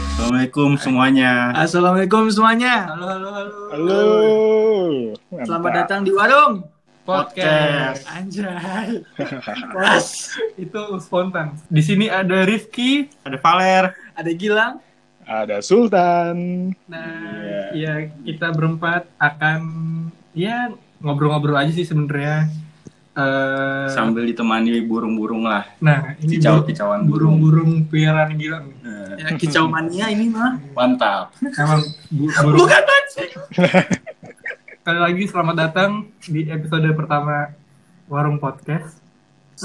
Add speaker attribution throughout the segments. Speaker 1: Assalamualaikum semuanya.
Speaker 2: Assalamualaikum semuanya. Halo, halo, halo.
Speaker 3: Halo. Mantap.
Speaker 2: Selamat datang di warung
Speaker 1: Podcast.
Speaker 2: Anjay. Kelas.
Speaker 1: Itu spontan. Di sini ada Rifki, ada Valer.
Speaker 2: Ada Gilang.
Speaker 3: Ada Sultan.
Speaker 1: Nah, ya kita berempat akan ya ngobrol-ngobrol aja sih sebenarnya. Eh,
Speaker 4: sambil ditemani burung-burung lah
Speaker 1: nah, ini bur-
Speaker 4: kicau-kicauan burung,
Speaker 1: burung-burung piaraan Gilang.
Speaker 4: Nah,
Speaker 2: Ya, kicau mania ini mah.
Speaker 4: mantap
Speaker 1: Emang bu- burung.
Speaker 2: Bukan mancing.
Speaker 1: Sekali lagi selamat datang di episode pertama Warung Podcast.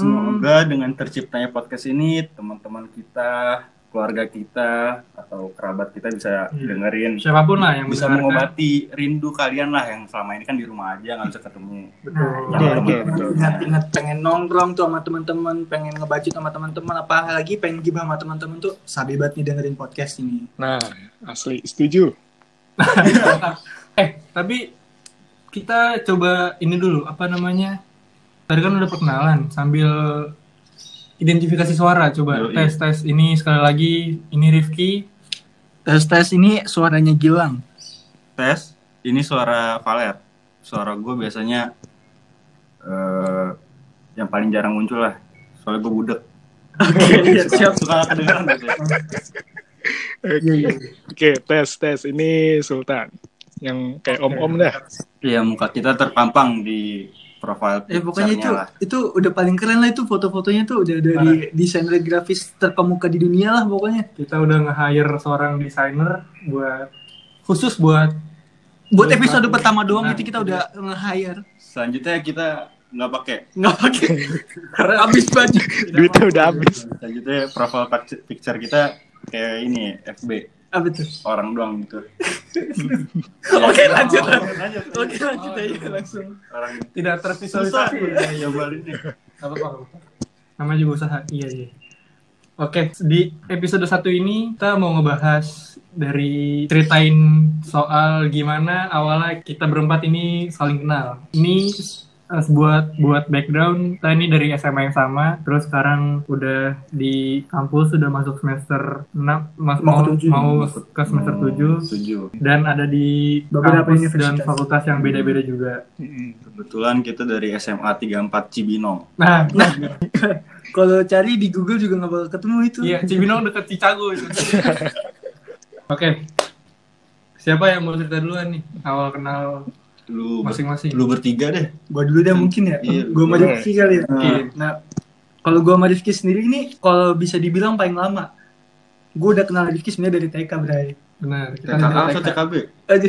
Speaker 1: Hmm.
Speaker 4: semoga dengan terciptanya podcast ini teman-teman kita keluarga kita atau kerabat kita bisa
Speaker 1: Iya.
Speaker 4: dengerin
Speaker 1: Siapapun lah yang
Speaker 4: bisa
Speaker 1: mendengarkan.
Speaker 4: mengobati rindu kalian lah yang selama ini kan di rumah aja nggak bisa ketemu
Speaker 1: Betul.
Speaker 4: Yang
Speaker 3: Oke, oke,
Speaker 4: teman-teman.
Speaker 3: betul.
Speaker 2: Ingat-ingat pengen nongkrong tuh sama teman-teman, pengen ngebacot sama teman-teman, apalagi pengen gibah sama teman-teman tuh sabi banget nih dengerin podcast ini.
Speaker 3: Nah, asli setuju.
Speaker 1: eh tapi kita coba ini dulu apa namanya tadi kan udah perkenalan sambil identifikasi suara coba
Speaker 4: Yoi.
Speaker 1: tes tes ini sekali lagi ini Rifki
Speaker 2: Tes-tes ini suaranya Gilang.
Speaker 4: tes ini suara Valer suara gue biasanya eh, yang paling jarang muncul lah soalnya gue budek
Speaker 2: Oke, iya, siap.
Speaker 4: suka kedengeran biasanya.
Speaker 3: Oke, Oke, tes tes ini Sultan. Yang kayak om-om dah.
Speaker 4: Iya muka kita terpampang di profile
Speaker 2: Eh pokoknya itu
Speaker 4: picture-nya lah.
Speaker 2: itu udah paling keren lah itu foto-fotonya tuh udah dari desainer grafis terkemuka di dunia lah pokoknya.
Speaker 1: kita udah nge-hire seorang desainer buat khusus buat
Speaker 2: Buat
Speaker 1: Iya,
Speaker 2: episode
Speaker 1: bagus.
Speaker 2: pertama doang
Speaker 1: Nah,
Speaker 2: itu kita
Speaker 1: itu
Speaker 2: udah nge-hire.
Speaker 4: Selanjutnya kita nggak pakai.
Speaker 2: Nggak pakai. Habis budget.
Speaker 3: Duitnya udah habis.
Speaker 4: Selanjutnya profile pic- picture kita kayak ini FB
Speaker 2: Apa tuh?
Speaker 4: orang doang gitu.
Speaker 2: Oke,
Speaker 4: Ya,
Speaker 2: lanjut.
Speaker 4: orang- lanjut.
Speaker 2: Oke lanjut aja langsung.
Speaker 4: Orang
Speaker 1: tidak
Speaker 4: susah
Speaker 1: tervisualisasi
Speaker 4: ya jawabannya.
Speaker 1: Gak apa-apa, gak apa-apa. Namanya juga usaha. Iya, iya. Oke, di episode satu ini kita mau ngebahas dari ceritain soal gimana awalnya kita berempat ini saling kenal. Ini eh, buat buat background kita ini dari SMA yang sama, terus sekarang udah di kampus sudah masuk semester 6 mas-
Speaker 2: Mau
Speaker 1: mau,
Speaker 2: ke tujuh. Oh,
Speaker 1: mau ke semester
Speaker 4: Hmm,
Speaker 1: 7
Speaker 4: Setuju.
Speaker 1: dan ada di
Speaker 2: Beberapa
Speaker 1: kampus dan
Speaker 2: universitas.
Speaker 1: fakultas yang beda-beda juga.
Speaker 3: Mm-mm.
Speaker 4: Kebetulan kita dari SMA 34 Cibinong.
Speaker 1: Nah,
Speaker 2: Kalau cari di Google juga nggak bakal ketemu itu.
Speaker 1: Iya, Cibinong dekat Chicago itu. Oke. Siapa yang mau cerita duluan nih? Awal kenal
Speaker 4: Lu ber-
Speaker 1: masing-masing.
Speaker 4: lu bertiga deh.
Speaker 2: Gua dulu deh mungkin ya.
Speaker 4: Iya,
Speaker 2: gua sama
Speaker 3: boleh.
Speaker 2: Rifki kali ya.
Speaker 1: Oke.
Speaker 2: Nah, kalau gua sama Rifki sendiri ini kalau bisa dibilang paling lama. Gua udah kenal Rifki sebenarnya dari TK, Bray.
Speaker 1: Benar. Kita
Speaker 4: TKA
Speaker 1: dari
Speaker 4: atau
Speaker 1: TK.
Speaker 4: TKB?
Speaker 2: Aja.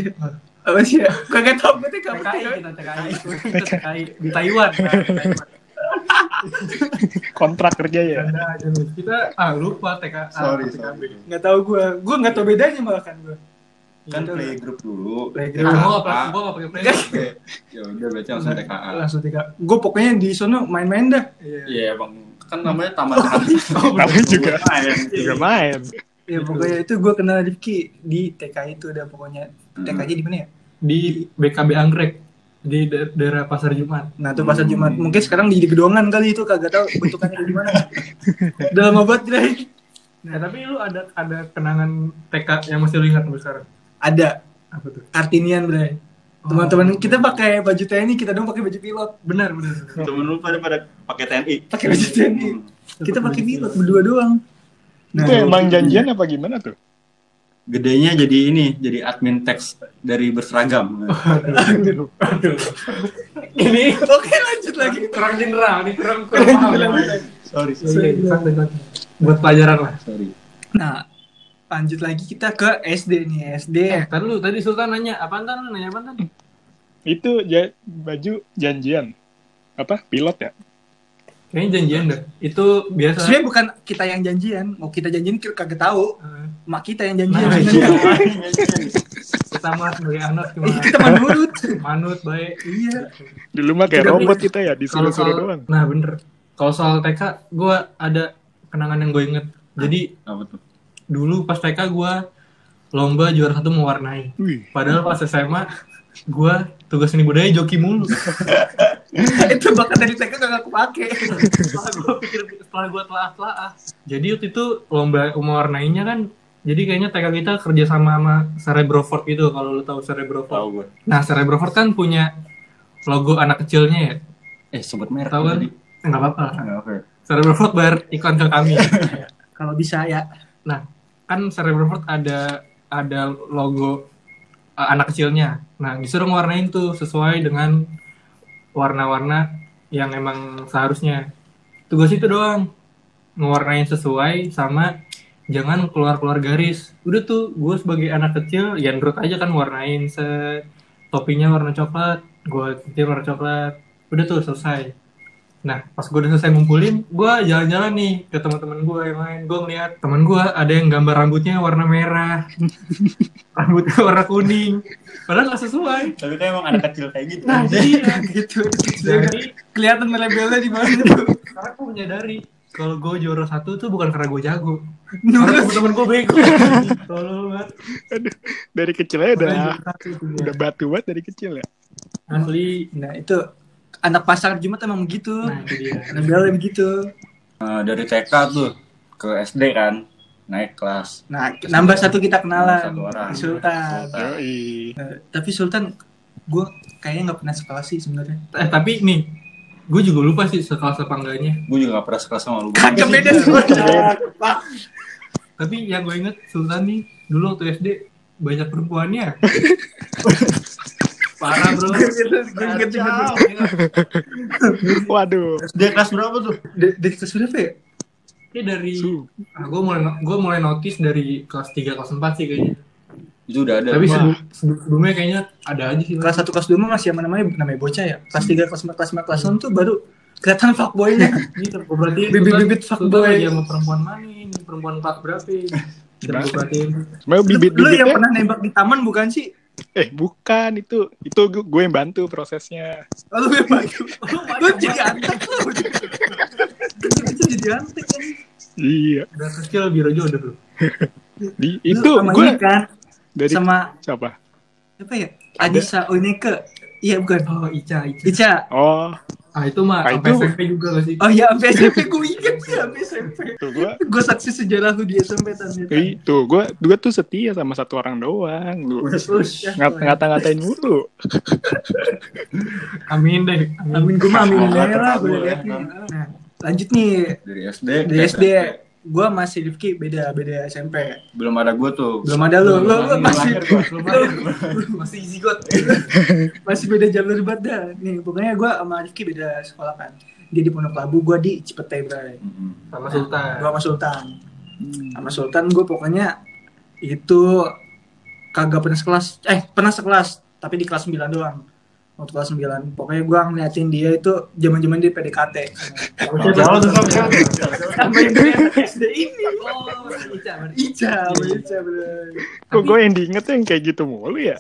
Speaker 2: Apa sih ya? Kagak tau gue TK apa
Speaker 1: TKI,
Speaker 2: TK.
Speaker 1: kita TKI. Kita TKI di Taiwan.
Speaker 3: Kontrak kerja ya.
Speaker 1: Nah, kita ah lupa TKA.
Speaker 4: Sorry,
Speaker 1: TKB.
Speaker 4: sorry.
Speaker 2: Nggak tau gue. Gue nggak tau bedanya malah kan gue.
Speaker 4: Kan playgroup dulu.
Speaker 2: Playgroup.
Speaker 1: Gua nggak
Speaker 4: TKA.
Speaker 1: pakai- gua nggak pakai Oh, play. Iya,
Speaker 4: Ya udah baca langsung TKA.
Speaker 2: Langsung TK. Gue pokoknya di sono main-main dah.
Speaker 4: Iya bang, kan namanya taman hati.
Speaker 3: Namanya juga. Juga main.
Speaker 2: Ya
Speaker 3: Gitu.
Speaker 2: pokoknya itu gue kenal Rifki di TK itu udah pokoknya.
Speaker 3: Hmm.
Speaker 2: TK-nya di mana ya?
Speaker 1: Di BKB Anggrek di da- daerah Pasar Jumat.
Speaker 2: Nah itu
Speaker 3: Hmm.
Speaker 2: pasar Jumat. Mungkin sekarang di gedongan kali itu kagak tau bentukannya di mana. Udah lama banget Bray.
Speaker 1: Nah, tapi lu ada ada kenangan TK yang masih lu ingat sampai sekarang?
Speaker 2: Ada
Speaker 1: Apa tuh?
Speaker 2: Kartinian Bray.
Speaker 3: Oh.
Speaker 2: Teman-teman kita pakai baju TNI, kita dong pakai baju pilot.
Speaker 1: benar benar. benar.
Speaker 4: Temen lu pada pada pakai TNI.
Speaker 2: Pakai baju TNI.
Speaker 4: Hmm.
Speaker 3: Hmm.
Speaker 2: Kita pakai pilot berdua doang. Nah,
Speaker 3: Itu emang janjian apa gimana tuh?
Speaker 4: Gedenya jadi ini, jadi admin teks dari
Speaker 1: Oh,
Speaker 4: berseragam. Nah.
Speaker 1: Ini
Speaker 2: Oke lanjut lagi.
Speaker 1: kurang general nih kurang kurang paham yang lain.
Speaker 4: sorry, sorry,
Speaker 1: Iya, iya, santai, santai. buat pelajaran lah
Speaker 4: sorry.
Speaker 2: Nah, lanjut lagi kita ke SD nih. SD.
Speaker 1: eh tadi lu tadi Sultan nanya apaan tan lu nanya apaan tan
Speaker 3: Itu ja- baju janjian. Apa? Pilot ya?
Speaker 1: kayaknya janjian deh itu biasa
Speaker 2: Sebenarnya bukan kita yang janjian, mau kita janjian kita kagak tahu.
Speaker 1: Eh,
Speaker 2: Mak kita yang janjian.
Speaker 1: Nah,
Speaker 2: sebenarnya.
Speaker 1: pertama sebagai anak
Speaker 2: Iya,
Speaker 1: gimana
Speaker 2: kita menurut.
Speaker 1: manut baik
Speaker 2: iya.
Speaker 3: Dulu mah kayak
Speaker 2: Tapi-
Speaker 3: robot kita ya,
Speaker 1: kalau
Speaker 3: disuruh-suruh doang.
Speaker 1: soal nah bener kalau soal TK gue ada kenangan yang gue inget jadi
Speaker 4: Apa tuh?
Speaker 1: dulu pas TK gue lomba juara satu mewarnai
Speaker 3: Wih,
Speaker 1: padahal pas SMA gue tugas seni budaya joki mulu
Speaker 2: itu bahkan dari TK kagak kepake.
Speaker 1: setelah gue pikir setelah gue telah telah jadi waktu itu lomba umur warnainya kan Jadi kayaknya TK kita kerja sama sama Cerebrofort gitu kalau lu tahu Cerebrofort.
Speaker 4: tahu gue
Speaker 1: Nah, Cerebrofort kan punya logo anak kecilnya ya.
Speaker 4: eh sebut merek
Speaker 1: Tahu kan?
Speaker 4: tadi.
Speaker 1: Enggak apa-apa. lah.
Speaker 4: Nggak apa ya.
Speaker 1: Cerebrofort beriklan ke kami.
Speaker 2: Kalau bisa ya.
Speaker 1: kan Cerebrofort ada ada logo uh, anak kecilnya. Nah, disuruh ngewarnain tuh sesuai dengan warna-warna yang emang seharusnya. Tugas itu doang ngewarnain sesuai sama jangan keluar-keluar garis. Udah tuh, gue sebagai anak kecil ya nurut aja kan warnain se topinya warna coklat, gue kecil warna coklat. Udah tuh selesai. Nah, pas gue udah selesai ngumpulin, gue jalan-jalan nih ke teman-teman gue yang main. Gue ngeliat teman gue ada yang gambar rambutnya warna merah, rambutnya warna kuning. Padahal gak sesuai.
Speaker 4: tapi kan emang anak kecil kayak gitu
Speaker 1: Nah, jadi
Speaker 2: gitu.
Speaker 1: jadi
Speaker 2: Kelihatan labelnya di mana tuh.
Speaker 1: karena gue menyadari kalau gue juara satu tuh bukan karena gue jago karena temen-temen gue bego tolol banget
Speaker 3: Aduh, dari kecilnya udah
Speaker 1: Makanya juara satu tuh gua.
Speaker 3: udah batu banget dari kecil ya.
Speaker 1: asli
Speaker 2: Nah, itu anak pasar Jumat emang begitu.
Speaker 1: nah itu dia
Speaker 2: Labelnya begitu.
Speaker 4: Eh, dari TK tuh ke SD kan naik kelas
Speaker 2: Nah, nambah satu kita kenalan.
Speaker 4: Satu orang. Ah,
Speaker 2: Sultan.
Speaker 3: Nah. Yoi.
Speaker 2: Eh, tapi Sultan gue kayaknya nggak pernah sekolah sih sebenarnya.
Speaker 1: eh tapi nih gue juga lupa sih sekelas apa enggaknya
Speaker 4: gue juga gak pernah sekelas sama lu
Speaker 2: Kagak beda Sultan. Pak.
Speaker 1: tapi yang gue inget Sultan nih dulu waktu SD banyak perempuannya parah bro
Speaker 2: Kacau.
Speaker 3: Waduh.
Speaker 4: dia kelas berapa tuh
Speaker 2: D- Dari kelas berapa ya?
Speaker 1: Ini dari
Speaker 3: Su.
Speaker 1: ah, gue mulai gue mulai notice dari kelas 3 kelas 4 sih kayaknya
Speaker 4: itu udah
Speaker 2: Iya,
Speaker 4: ada
Speaker 1: tapi
Speaker 4: Wah,
Speaker 1: sebelum, sebelumnya kayaknya ada aja sih
Speaker 2: Kelas 1 kelas 2 mah masih sama namanya namanya bocah ya. Kelas 3 kelas 4 kelas 5 kelas 6 tuh baru kelihatan fuckboy-nya.
Speaker 1: Gitu, gua perhatiin
Speaker 2: Bibit-bibit
Speaker 1: Sultan-
Speaker 2: fuckboy.
Speaker 1: Sultan lagi sama peremboan mana ini, perempuan kelas berapa ini? Coba
Speaker 3: Gimana?
Speaker 1: gua perhatiin.
Speaker 3: Sebenarnya
Speaker 2: Lu,
Speaker 3: bibit
Speaker 2: lu yang
Speaker 3: bibitnya
Speaker 2: pernah nembak di taman bukan sih?
Speaker 3: eh bukan itu itu gu- gue yang bantu prosesnya.
Speaker 2: Oh, Lu yang bagi- Lu jadi antek lu. Lu Bisa jadi antek kan.
Speaker 3: Iya.
Speaker 1: Udah kecil biro jodoh bro.
Speaker 2: Lu
Speaker 3: Di itu
Speaker 2: sama
Speaker 3: gue
Speaker 2: ini kan
Speaker 3: dari
Speaker 2: sama
Speaker 3: siapa?
Speaker 2: apa ya? Anissa Oineke. Iya bukan.
Speaker 1: Oh Ica Ica.
Speaker 2: Ica.
Speaker 3: Oh,
Speaker 1: Ah itu mah
Speaker 3: Ah,
Speaker 1: sampai
Speaker 3: itu-
Speaker 1: SMP juga gak sih?
Speaker 2: Oh iya, sampai SMP gue inget sih, sampai SMP.
Speaker 3: tuh gue
Speaker 2: Gue saksi sejarah lu di SMP ternyata.
Speaker 3: itu gue gue tuh setia sama satu orang doang lu.
Speaker 2: Ush.
Speaker 3: Ngat, ngata-ngatain mulu.
Speaker 1: Amin deh.
Speaker 2: Amin gue mah amin
Speaker 4: Ah,
Speaker 2: merah
Speaker 4: tetap
Speaker 2: gue
Speaker 4: gua
Speaker 2: lihat
Speaker 4: ya,
Speaker 2: nih. Nah, lanjut nih
Speaker 4: dari SD
Speaker 2: dari
Speaker 4: ke
Speaker 2: SD gue masih Rifki beda beda SMP
Speaker 4: belum ada gue tuh
Speaker 2: belum ada lu lu lu
Speaker 4: Belum
Speaker 2: masih
Speaker 4: lahir gua.
Speaker 1: Belum
Speaker 2: lu
Speaker 1: lahir.
Speaker 2: masih easy god masih beda jalur banget dah nih pokoknya gue sama Rifki beda sekolah kan dia di Pondok Labu gue di Cipete Bray
Speaker 4: Mm-mm.
Speaker 1: Sama
Speaker 2: gue
Speaker 1: Sultan.
Speaker 2: sama Sultan sama Sultan gue pokoknya itu kagak pernah sekelas eh pernah sekelas tapi di kelas 9 doang waktu kelas 9 pokoknya gue ngeliatin dia itu zaman zaman dia PDKT
Speaker 4: Jauh tuh, Sob, jauh tuh.
Speaker 2: sama yang dia anak SD ini oh Ica bener. Ica sama Ica bener
Speaker 3: Kok gue yang diinget yang kayak gitu mulu ya?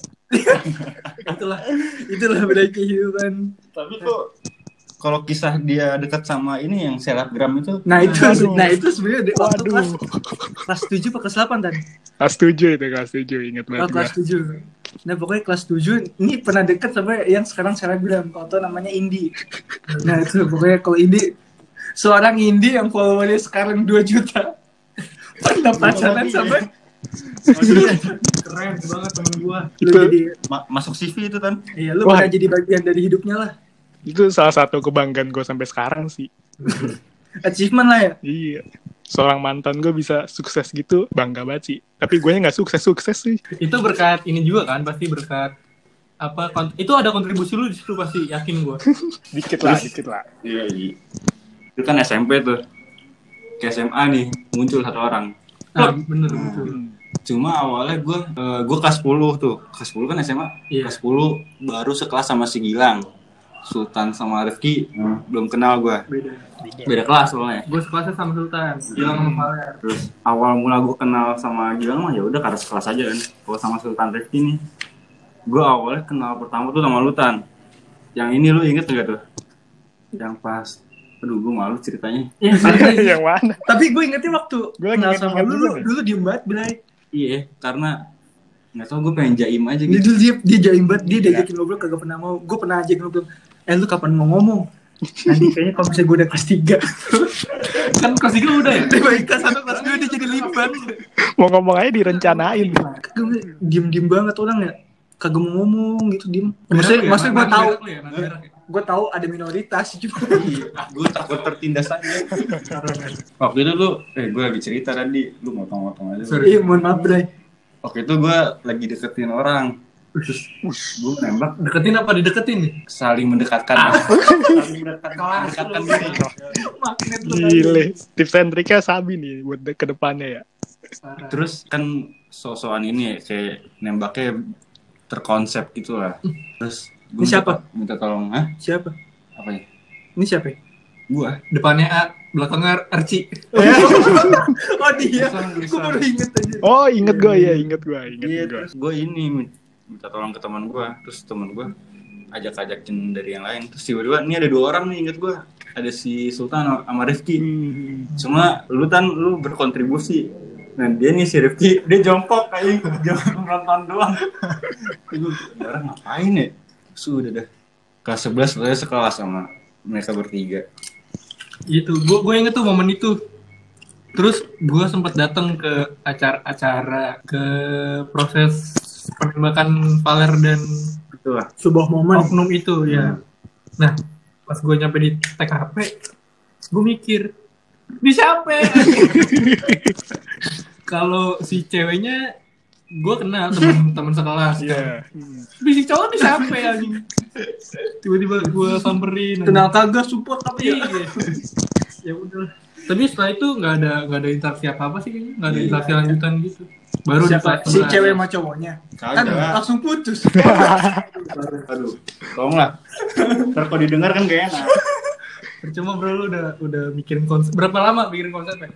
Speaker 1: Itulah.
Speaker 2: itulah bener kehidupan
Speaker 4: tapi kok kalau kisah dia dekat sama ini yang selebgram itu
Speaker 2: nah itu
Speaker 3: Waduh.
Speaker 2: nah itu sebenarnya di- waktu kelas
Speaker 3: Waduh.
Speaker 2: kelas tujuh apa kelas delapan tadi
Speaker 3: Kelas 7 itu kelas 7 inget
Speaker 2: oh,
Speaker 3: banget gue.
Speaker 2: kelas tujuh nah pokoknya kelas tujuh ini pernah deket sama yang sekarang selebgram kalau tau namanya Indi nah itu pokoknya kalau Indi seorang Indi yang followernya sekarang 2 juta pernah pacaran sama
Speaker 1: Keren banget temen gua.
Speaker 2: lu
Speaker 3: Itu-
Speaker 2: jadi
Speaker 4: Ma- masuk CV itu kan
Speaker 2: iya lu
Speaker 3: Wah.
Speaker 2: pernah jadi bagian dari hidupnya lah
Speaker 3: Itu salah satu kebanggaan gue sampai sekarang sih.
Speaker 2: achievement lah ya
Speaker 3: Iya. Seorang mantan gue bisa sukses gitu, bangga banget sih. Tapi gue nggak sukses-sukses sih.
Speaker 1: Itu berkat ini juga kan pasti berkat apa kont- itu ada kontribusi lu di situ pasti yakin gua.
Speaker 3: Dikit lah, dikit lah.
Speaker 4: iya iya itu kan SMP tuh ke SMA nih muncul satu orang
Speaker 1: Nah, bener betul.
Speaker 4: cuma awalnya gue gue kelas 10 tuh kelas 10 kan SMA
Speaker 1: Iya.
Speaker 4: kelas 10 baru sekelas sama si Gilang Sultan sama Rifki belum kenal gue
Speaker 2: beda
Speaker 4: beda kelas soalnya
Speaker 1: Gue sekelasnya sama Sultan. Bilang sama Valer.
Speaker 4: terus awal mula gue kenal sama Gilang mah ya udah karena sekelas aja kan kalau sama Sultan Rifki nih gue awalnya kenal pertama tuh sama Lutan yang ini lu inget gak tuh yang pas aduh gue malu ceritanya
Speaker 2: Iya,
Speaker 3: Yang mana?
Speaker 2: tapi gue ingetnya waktu
Speaker 3: Gue lagi
Speaker 2: kenal
Speaker 3: inget-
Speaker 2: sama
Speaker 3: inget
Speaker 2: lu
Speaker 3: dulu
Speaker 2: lu
Speaker 3: nih.
Speaker 2: dulu diem banget Blay
Speaker 4: iya karena nggak tau gue pengen jaim aja
Speaker 2: Dia
Speaker 4: gitu
Speaker 2: dulu dia, dia jaim banget, dia
Speaker 3: Iya.
Speaker 2: diajakin ngobrol kagak pernah mau. Gue pernah ajakin ngobrol, eh lu kapan mau ngomong? Nanti kayaknya kalau misalnya gue udah kelas 3
Speaker 1: Kan kelas 3 udah ya?
Speaker 2: Tiba kelas 1 kelas 2 dia jadi liban
Speaker 3: Mau ngomong aja direncanain.
Speaker 2: Gue diem-diem banget orang ya Kagak mau ngomong gitu diem Maksudnya,
Speaker 1: Benar ya?
Speaker 2: maksudnya gue
Speaker 1: Nanti
Speaker 2: tahu
Speaker 1: berak lu ya, nanti berak ya.
Speaker 2: Gue tahu ada minoritas cuma
Speaker 1: Iya,
Speaker 4: gue takut tertindas aja. Waktu itu lu, eh gue lagi cerita tadi, lu motong-motong aja.
Speaker 1: Sorry.
Speaker 2: Iya mohon maaf Bray
Speaker 4: Waktu itu gue lagi deketin orang, terus gue nembak
Speaker 1: Deketin apa dideketin nih?
Speaker 4: saling mendekatkan. saling mendekatkan, mendekatkan gitu. diri.
Speaker 2: Magnet lu tadi.
Speaker 3: Gile. Tips and triknya Sabi nih buat de- ke depannya ya.
Speaker 2: Parah.
Speaker 4: Terus kan sosokan ini ya, kayak nembaknya terkonsep gitu lah. Terus
Speaker 2: Ini
Speaker 4: gue
Speaker 2: siapa?
Speaker 4: Minta tolong, hah?
Speaker 2: Siapa?
Speaker 4: Apa ya?
Speaker 2: Ini siapa ya?
Speaker 4: Gue.
Speaker 1: Depannya A, belakangnya Arci.
Speaker 2: Oh dia
Speaker 4: Gelisah,
Speaker 2: Gue
Speaker 4: gelisah.
Speaker 2: baru inget aja
Speaker 3: Oh, inget gue ya, inget gue, inget
Speaker 4: Iya,
Speaker 3: gue.
Speaker 4: terus gue ini min- minta tolong ke teman gue, terus teman gue ajak-ajakin dari yang lain. Terus tiba-tiba ini ada dua orang nih inget gue, ada si Sultan sama Rifki.
Speaker 3: Hmm.
Speaker 4: Cuma lu kan lu berkontribusi. Nah dia nih si Rifki, dia jompok kayak jangan nonton doang. Itu orang ngapain ya? Sudah dah. Kelas 11 sebenarnya sekelas sama mereka bertiga.
Speaker 1: Gitu. Gue gue inget tuh momen itu. Terus gue sempat datang ke acara-acara ke proses penembakan Paler dan
Speaker 4: Betul lah.
Speaker 2: Sebuah momen
Speaker 1: oknum itu
Speaker 2: Hmm.
Speaker 1: ya. Nah, pas gue nyampe di TKP, gue mikir di siapa? Kalau si ceweknya gue kenal teman-teman sekelas.
Speaker 3: Iya.
Speaker 1: Tapi si cowok di siapa ya, anjing? Tiba-tiba gue samperin. anjing.
Speaker 2: Kenal kagak support apa ya?
Speaker 1: Iya. ya udah. Tapi setelah itu nggak ada nggak ada interaksi apa apa sih kayaknya nggak ada
Speaker 4: Iya.
Speaker 1: interaksi lanjutan gitu. Baru di
Speaker 2: Siapa?
Speaker 1: kelas
Speaker 2: Si
Speaker 1: 11.
Speaker 2: cewek sama cowoknya Kan
Speaker 4: Kagak.
Speaker 2: langsung putus
Speaker 4: Aduh, tolonglah. Ntar kalau didengar kan gak enak.
Speaker 1: Percuma bro lu udah udah mikirin konsep. Berapa lama mikirin konsepnya?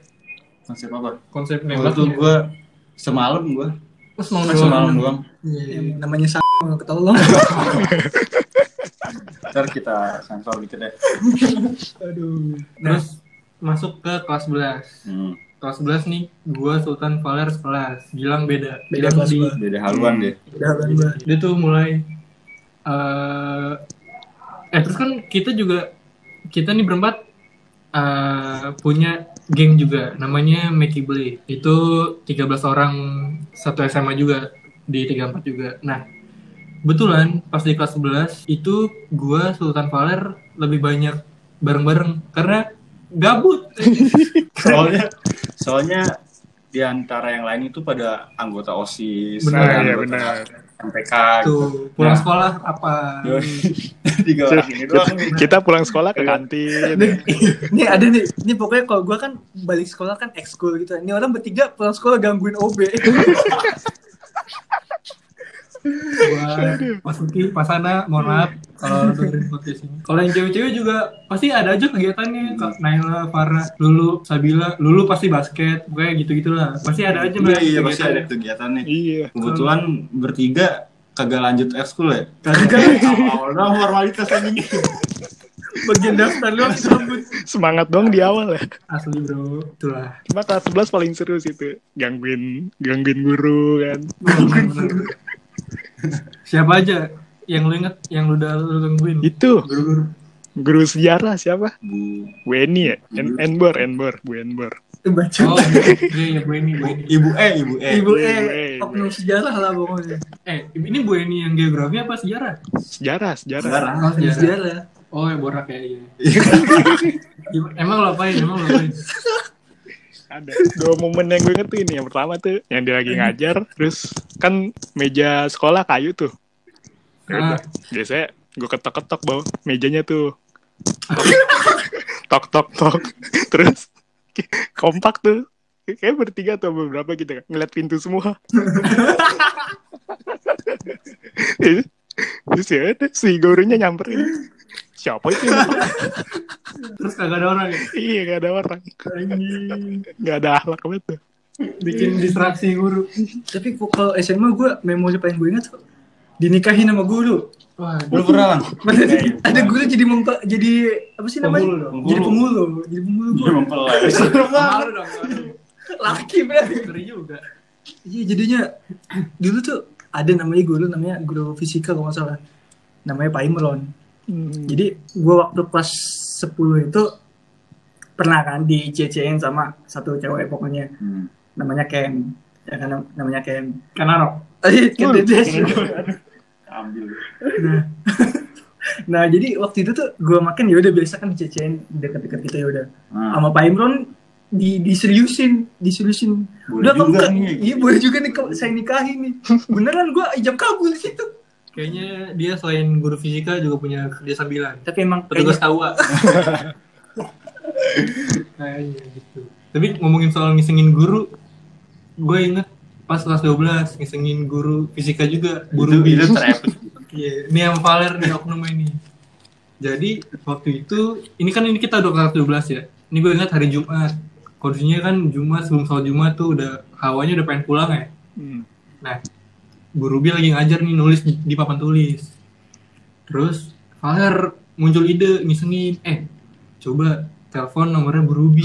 Speaker 4: Konsep apa?
Speaker 1: Konsep
Speaker 4: Waktu
Speaker 1: nembak ya?
Speaker 4: itu gue semalam gue,
Speaker 1: Terus mau
Speaker 4: semalam doang.
Speaker 1: Iya, iya.
Speaker 2: Yang namanya s*** nggak ketolong
Speaker 4: Ntar kita sensor dikit deh.
Speaker 1: Aduh. Terus masuk ke kelas 11.
Speaker 4: Hmm,
Speaker 1: Kelas 11 nih, gua Sultan Valer sekelas. Gilang beda.
Speaker 2: Beda
Speaker 1: Gilang
Speaker 2: kelas
Speaker 1: di-
Speaker 2: gua.
Speaker 4: beda haluan deh.
Speaker 2: Udah kan gua.
Speaker 1: Dia tuh mulai eh eh terus kan kita juga kita nih berempat eh punya geng juga namanya Macky Blade. Itu 13 orang satu SMA juga di 34 juga. Nah, betulan pas di kelas 11 itu gua Sultan Valer lebih banyak bareng-bareng karena gabut.
Speaker 4: Soalnya, soalnya di antara yang lain itu pada anggota OSIS, ada
Speaker 1: Benar,
Speaker 3: Nah, iya
Speaker 4: anggota
Speaker 3: benar.
Speaker 4: MPK gitu.
Speaker 1: Tuh, pulang
Speaker 4: Nah.
Speaker 1: sekolah apa?
Speaker 4: Yoi. Tiga orang ini doang nih. Iya.
Speaker 3: Kita pulang sekolah ke kantin. ya.
Speaker 2: Nih, nih ada nih, nih pokoknya kalau gue kan balik sekolah kan ekskul gitu. Ini orang bertiga pulang sekolah gangguin OB.
Speaker 1: Wah, Mas Uki, Mas Ana, mohon maaf kalau dengerin podcast ini. Kalau yang cewek-cewek juga pasti ada aja kegiatannya. Kak Naila, Farah, Lulu, Sabila, Lulu pasti basket, gue gitu-gitu lah. Pasti ada aja
Speaker 4: Iya,
Speaker 1: banyak
Speaker 4: iya, pasti ada kegiatannya.
Speaker 1: kegiatannya.
Speaker 3: Iya.
Speaker 4: Kebetulan bertiga kagak lanjut ekskul ya.
Speaker 2: Kagak
Speaker 4: Awal doang formalitas anjing.
Speaker 2: bagian daftar lu harus rambut.
Speaker 3: Semangat dong di awal ya.
Speaker 1: Asli bro, itulah.
Speaker 3: Cuma kelas 11 paling seru sih itu. Gangguin, gangguin guru kan.
Speaker 1: Siapa aja yang lu inget, yang lu udah lu gangguin?
Speaker 3: Itu
Speaker 1: Guru-guru.
Speaker 3: guru sejarah siapa?
Speaker 4: Bu,
Speaker 3: Weni ya. En Enbor, Enbor, Bu Enbor.
Speaker 2: Baca.
Speaker 1: Oh, iya, iya, Bu Eni, Bu Eni.
Speaker 4: ibu E, ibu E.
Speaker 2: Ibu
Speaker 3: Ibu
Speaker 2: eh
Speaker 3: E.
Speaker 2: oknum sejarah lah pokoknya.
Speaker 1: Eh, ini Bu Eni yang geografi apa sejarah?
Speaker 3: Sejarah, sejarah.
Speaker 1: Ah,
Speaker 4: Sekarang.
Speaker 1: iya.
Speaker 2: Oknum sejarah.
Speaker 1: Oh, ya borak ya, iya. emang lo apain, emang lo apain?
Speaker 3: Ada dua momen yang gue inget tuh ini. Yang pertama tuh yang dia lagi ngajar, terus kan meja sekolah kayu tuh. Ya udah.
Speaker 1: Ah.
Speaker 3: Biasanya gue ketok-ketok bawah mejanya tuh. tok tok tok. Terus kompak tuh. Kayak bertiga atau beberapa gitu kan. Ngeliat pintu semua. Terus ya udah, si gurunya nyamperin. Siapa itu?
Speaker 1: Terus kagak ada orang ya?
Speaker 3: iya gak ada orang.
Speaker 1: Anjing.
Speaker 3: Gak ada akhlak banget tuh.
Speaker 1: Bikin distraksi guru.
Speaker 2: Tapi kok kalau SMA gue memori paling gue ingat tuh, dinikahin sama guru.
Speaker 1: Wah,
Speaker 4: Lu pernah lang? E.
Speaker 2: ada guru jadi mempa, jadi apa sih
Speaker 1: Pemulung
Speaker 2: namanya?
Speaker 1: dong.
Speaker 2: Jadi pemulu, jadi pemulu
Speaker 4: Dia
Speaker 2: gue.
Speaker 4: mempelai.
Speaker 1: malu dong. malu.
Speaker 2: Laki berarti.
Speaker 1: Ngeri juga.
Speaker 2: Iya jadinya dulu tuh ada namanya guru namanya guru fisika kalau nggak salah namanya Pak Imron.
Speaker 3: Hmm.
Speaker 2: Jadi gue waktu kelas 10 itu pernah kan di in sama satu cewek pokoknya
Speaker 4: Hmm.
Speaker 2: namanya Ken. Ya kan nam- namanya Ken.
Speaker 1: Kanaro.
Speaker 2: Eh, Ken Dedes.
Speaker 4: Ambil.
Speaker 2: nah. nah, jadi waktu itu tuh gue makan ya udah biasa kan di in deket-deket gitu ya udah.
Speaker 4: Nah,
Speaker 2: Sama Pak Imron di diseriusin, diseriusin.
Speaker 4: boleh
Speaker 2: udah kamu
Speaker 4: juga
Speaker 2: nggak-
Speaker 4: nih. gitu.
Speaker 2: Iya boleh juga nih kalau saya nikahin nih. Beneran gue ijab kabul di situ.
Speaker 1: Kayaknya dia selain guru fisika juga punya kerja sambilan.
Speaker 2: Tapi emang
Speaker 1: Petugas tawa. Kayaknya gitu. Tapi ngomongin soal ngisengin guru, gue inget pas kelas 12 ngisengin guru fisika juga,
Speaker 4: Itu,
Speaker 1: guru
Speaker 4: itu
Speaker 1: bis.
Speaker 4: terepes.
Speaker 1: Iya, ini yang Valer nih oknum ini. Jadi waktu itu, ini kan ini kita udah kelas 12 ya. Ini gue ingat hari Jumat. Kondisinya kan Jumat sebelum sholat Jumat tuh udah hawanya udah pengen pulang ya.
Speaker 3: Hmm.
Speaker 1: Nah, Bu Ruby lagi ngajar nih nulis di, di papan tulis. Terus Valer muncul ide ngisengin, eh coba telepon nomornya Bu Ruby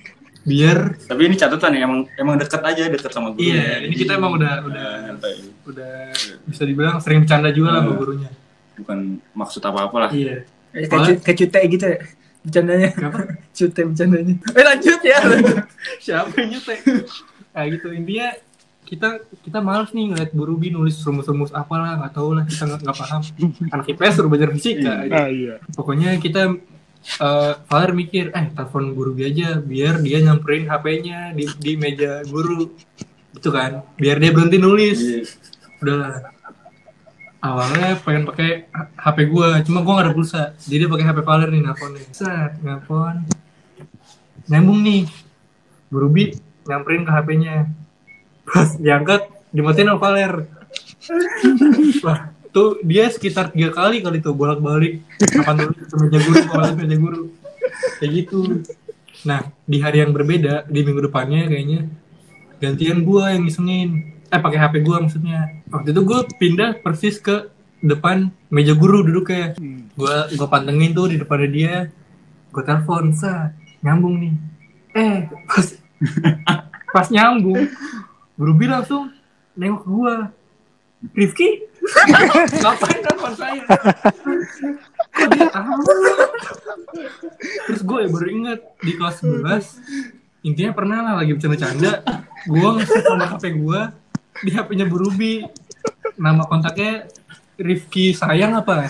Speaker 1: biar
Speaker 4: Tapi ini catatan ya, emang emang dekat aja, dekat sama guru. Iya,
Speaker 1: Iya, ini kita emang udah- udah-
Speaker 4: nyantai.
Speaker 1: udah bisa dibilang sering bercanda juga lah sama gurunya.
Speaker 4: bukan maksud apa-apa lah.
Speaker 1: Iya.
Speaker 2: kayak kayak kayak cute gitu ya. Bercandanya.
Speaker 1: Kenapa?
Speaker 2: Cute bercandanya. Eh lanjut ya. lanjut.
Speaker 1: siapa yang nyetek nah gitu intinya kita kita males nih ngeliat Bu Ruby nulis rumus-rumus apalah nggak tahu lah kita nggak nggak paham anak IPS suruh belajar fisika gitu.
Speaker 3: Ah iya.
Speaker 1: pokoknya kita eh Valer mikir eh telepon Bu Ruby aja biar dia nyamperin HP-nya di, di meja guru gitu kan biar dia berhenti nulis
Speaker 4: Iya.
Speaker 1: udahlah awalnya pengen pakai H- HP gua cuma gua gak ada pulsa jadi dia pakai HP Valer nih nelfonnya set nelfon nyambung nih Burubi nyamperin ke HP-nya pas diangkat dimatiin sama Valer Wah, tuh dia sekitar tiga kali kali tuh bolak-balik kapan dulu ke meja guru kapan ke meja guru kayak gitu nah di hari yang berbeda di minggu depannya kayaknya gantian gua yang ngisengin eh pakai HP gua maksudnya waktu itu gua pindah persis ke depan meja guru duduknya
Speaker 3: Hmm.
Speaker 1: gua gua pantengin tuh di depannya dia gua telepon sa nyambung nih eh pas pas nyambung Ruby langsung nengok ke gua Rifki ngapain telepon saya kok dia tahu terus gue baru inget di kelas 11 intinya pernah lah lagi bercanda-canda gue ngasih nomor HP gue di HP-nya Bu Ruby nama kontaknya Rifki sayang apa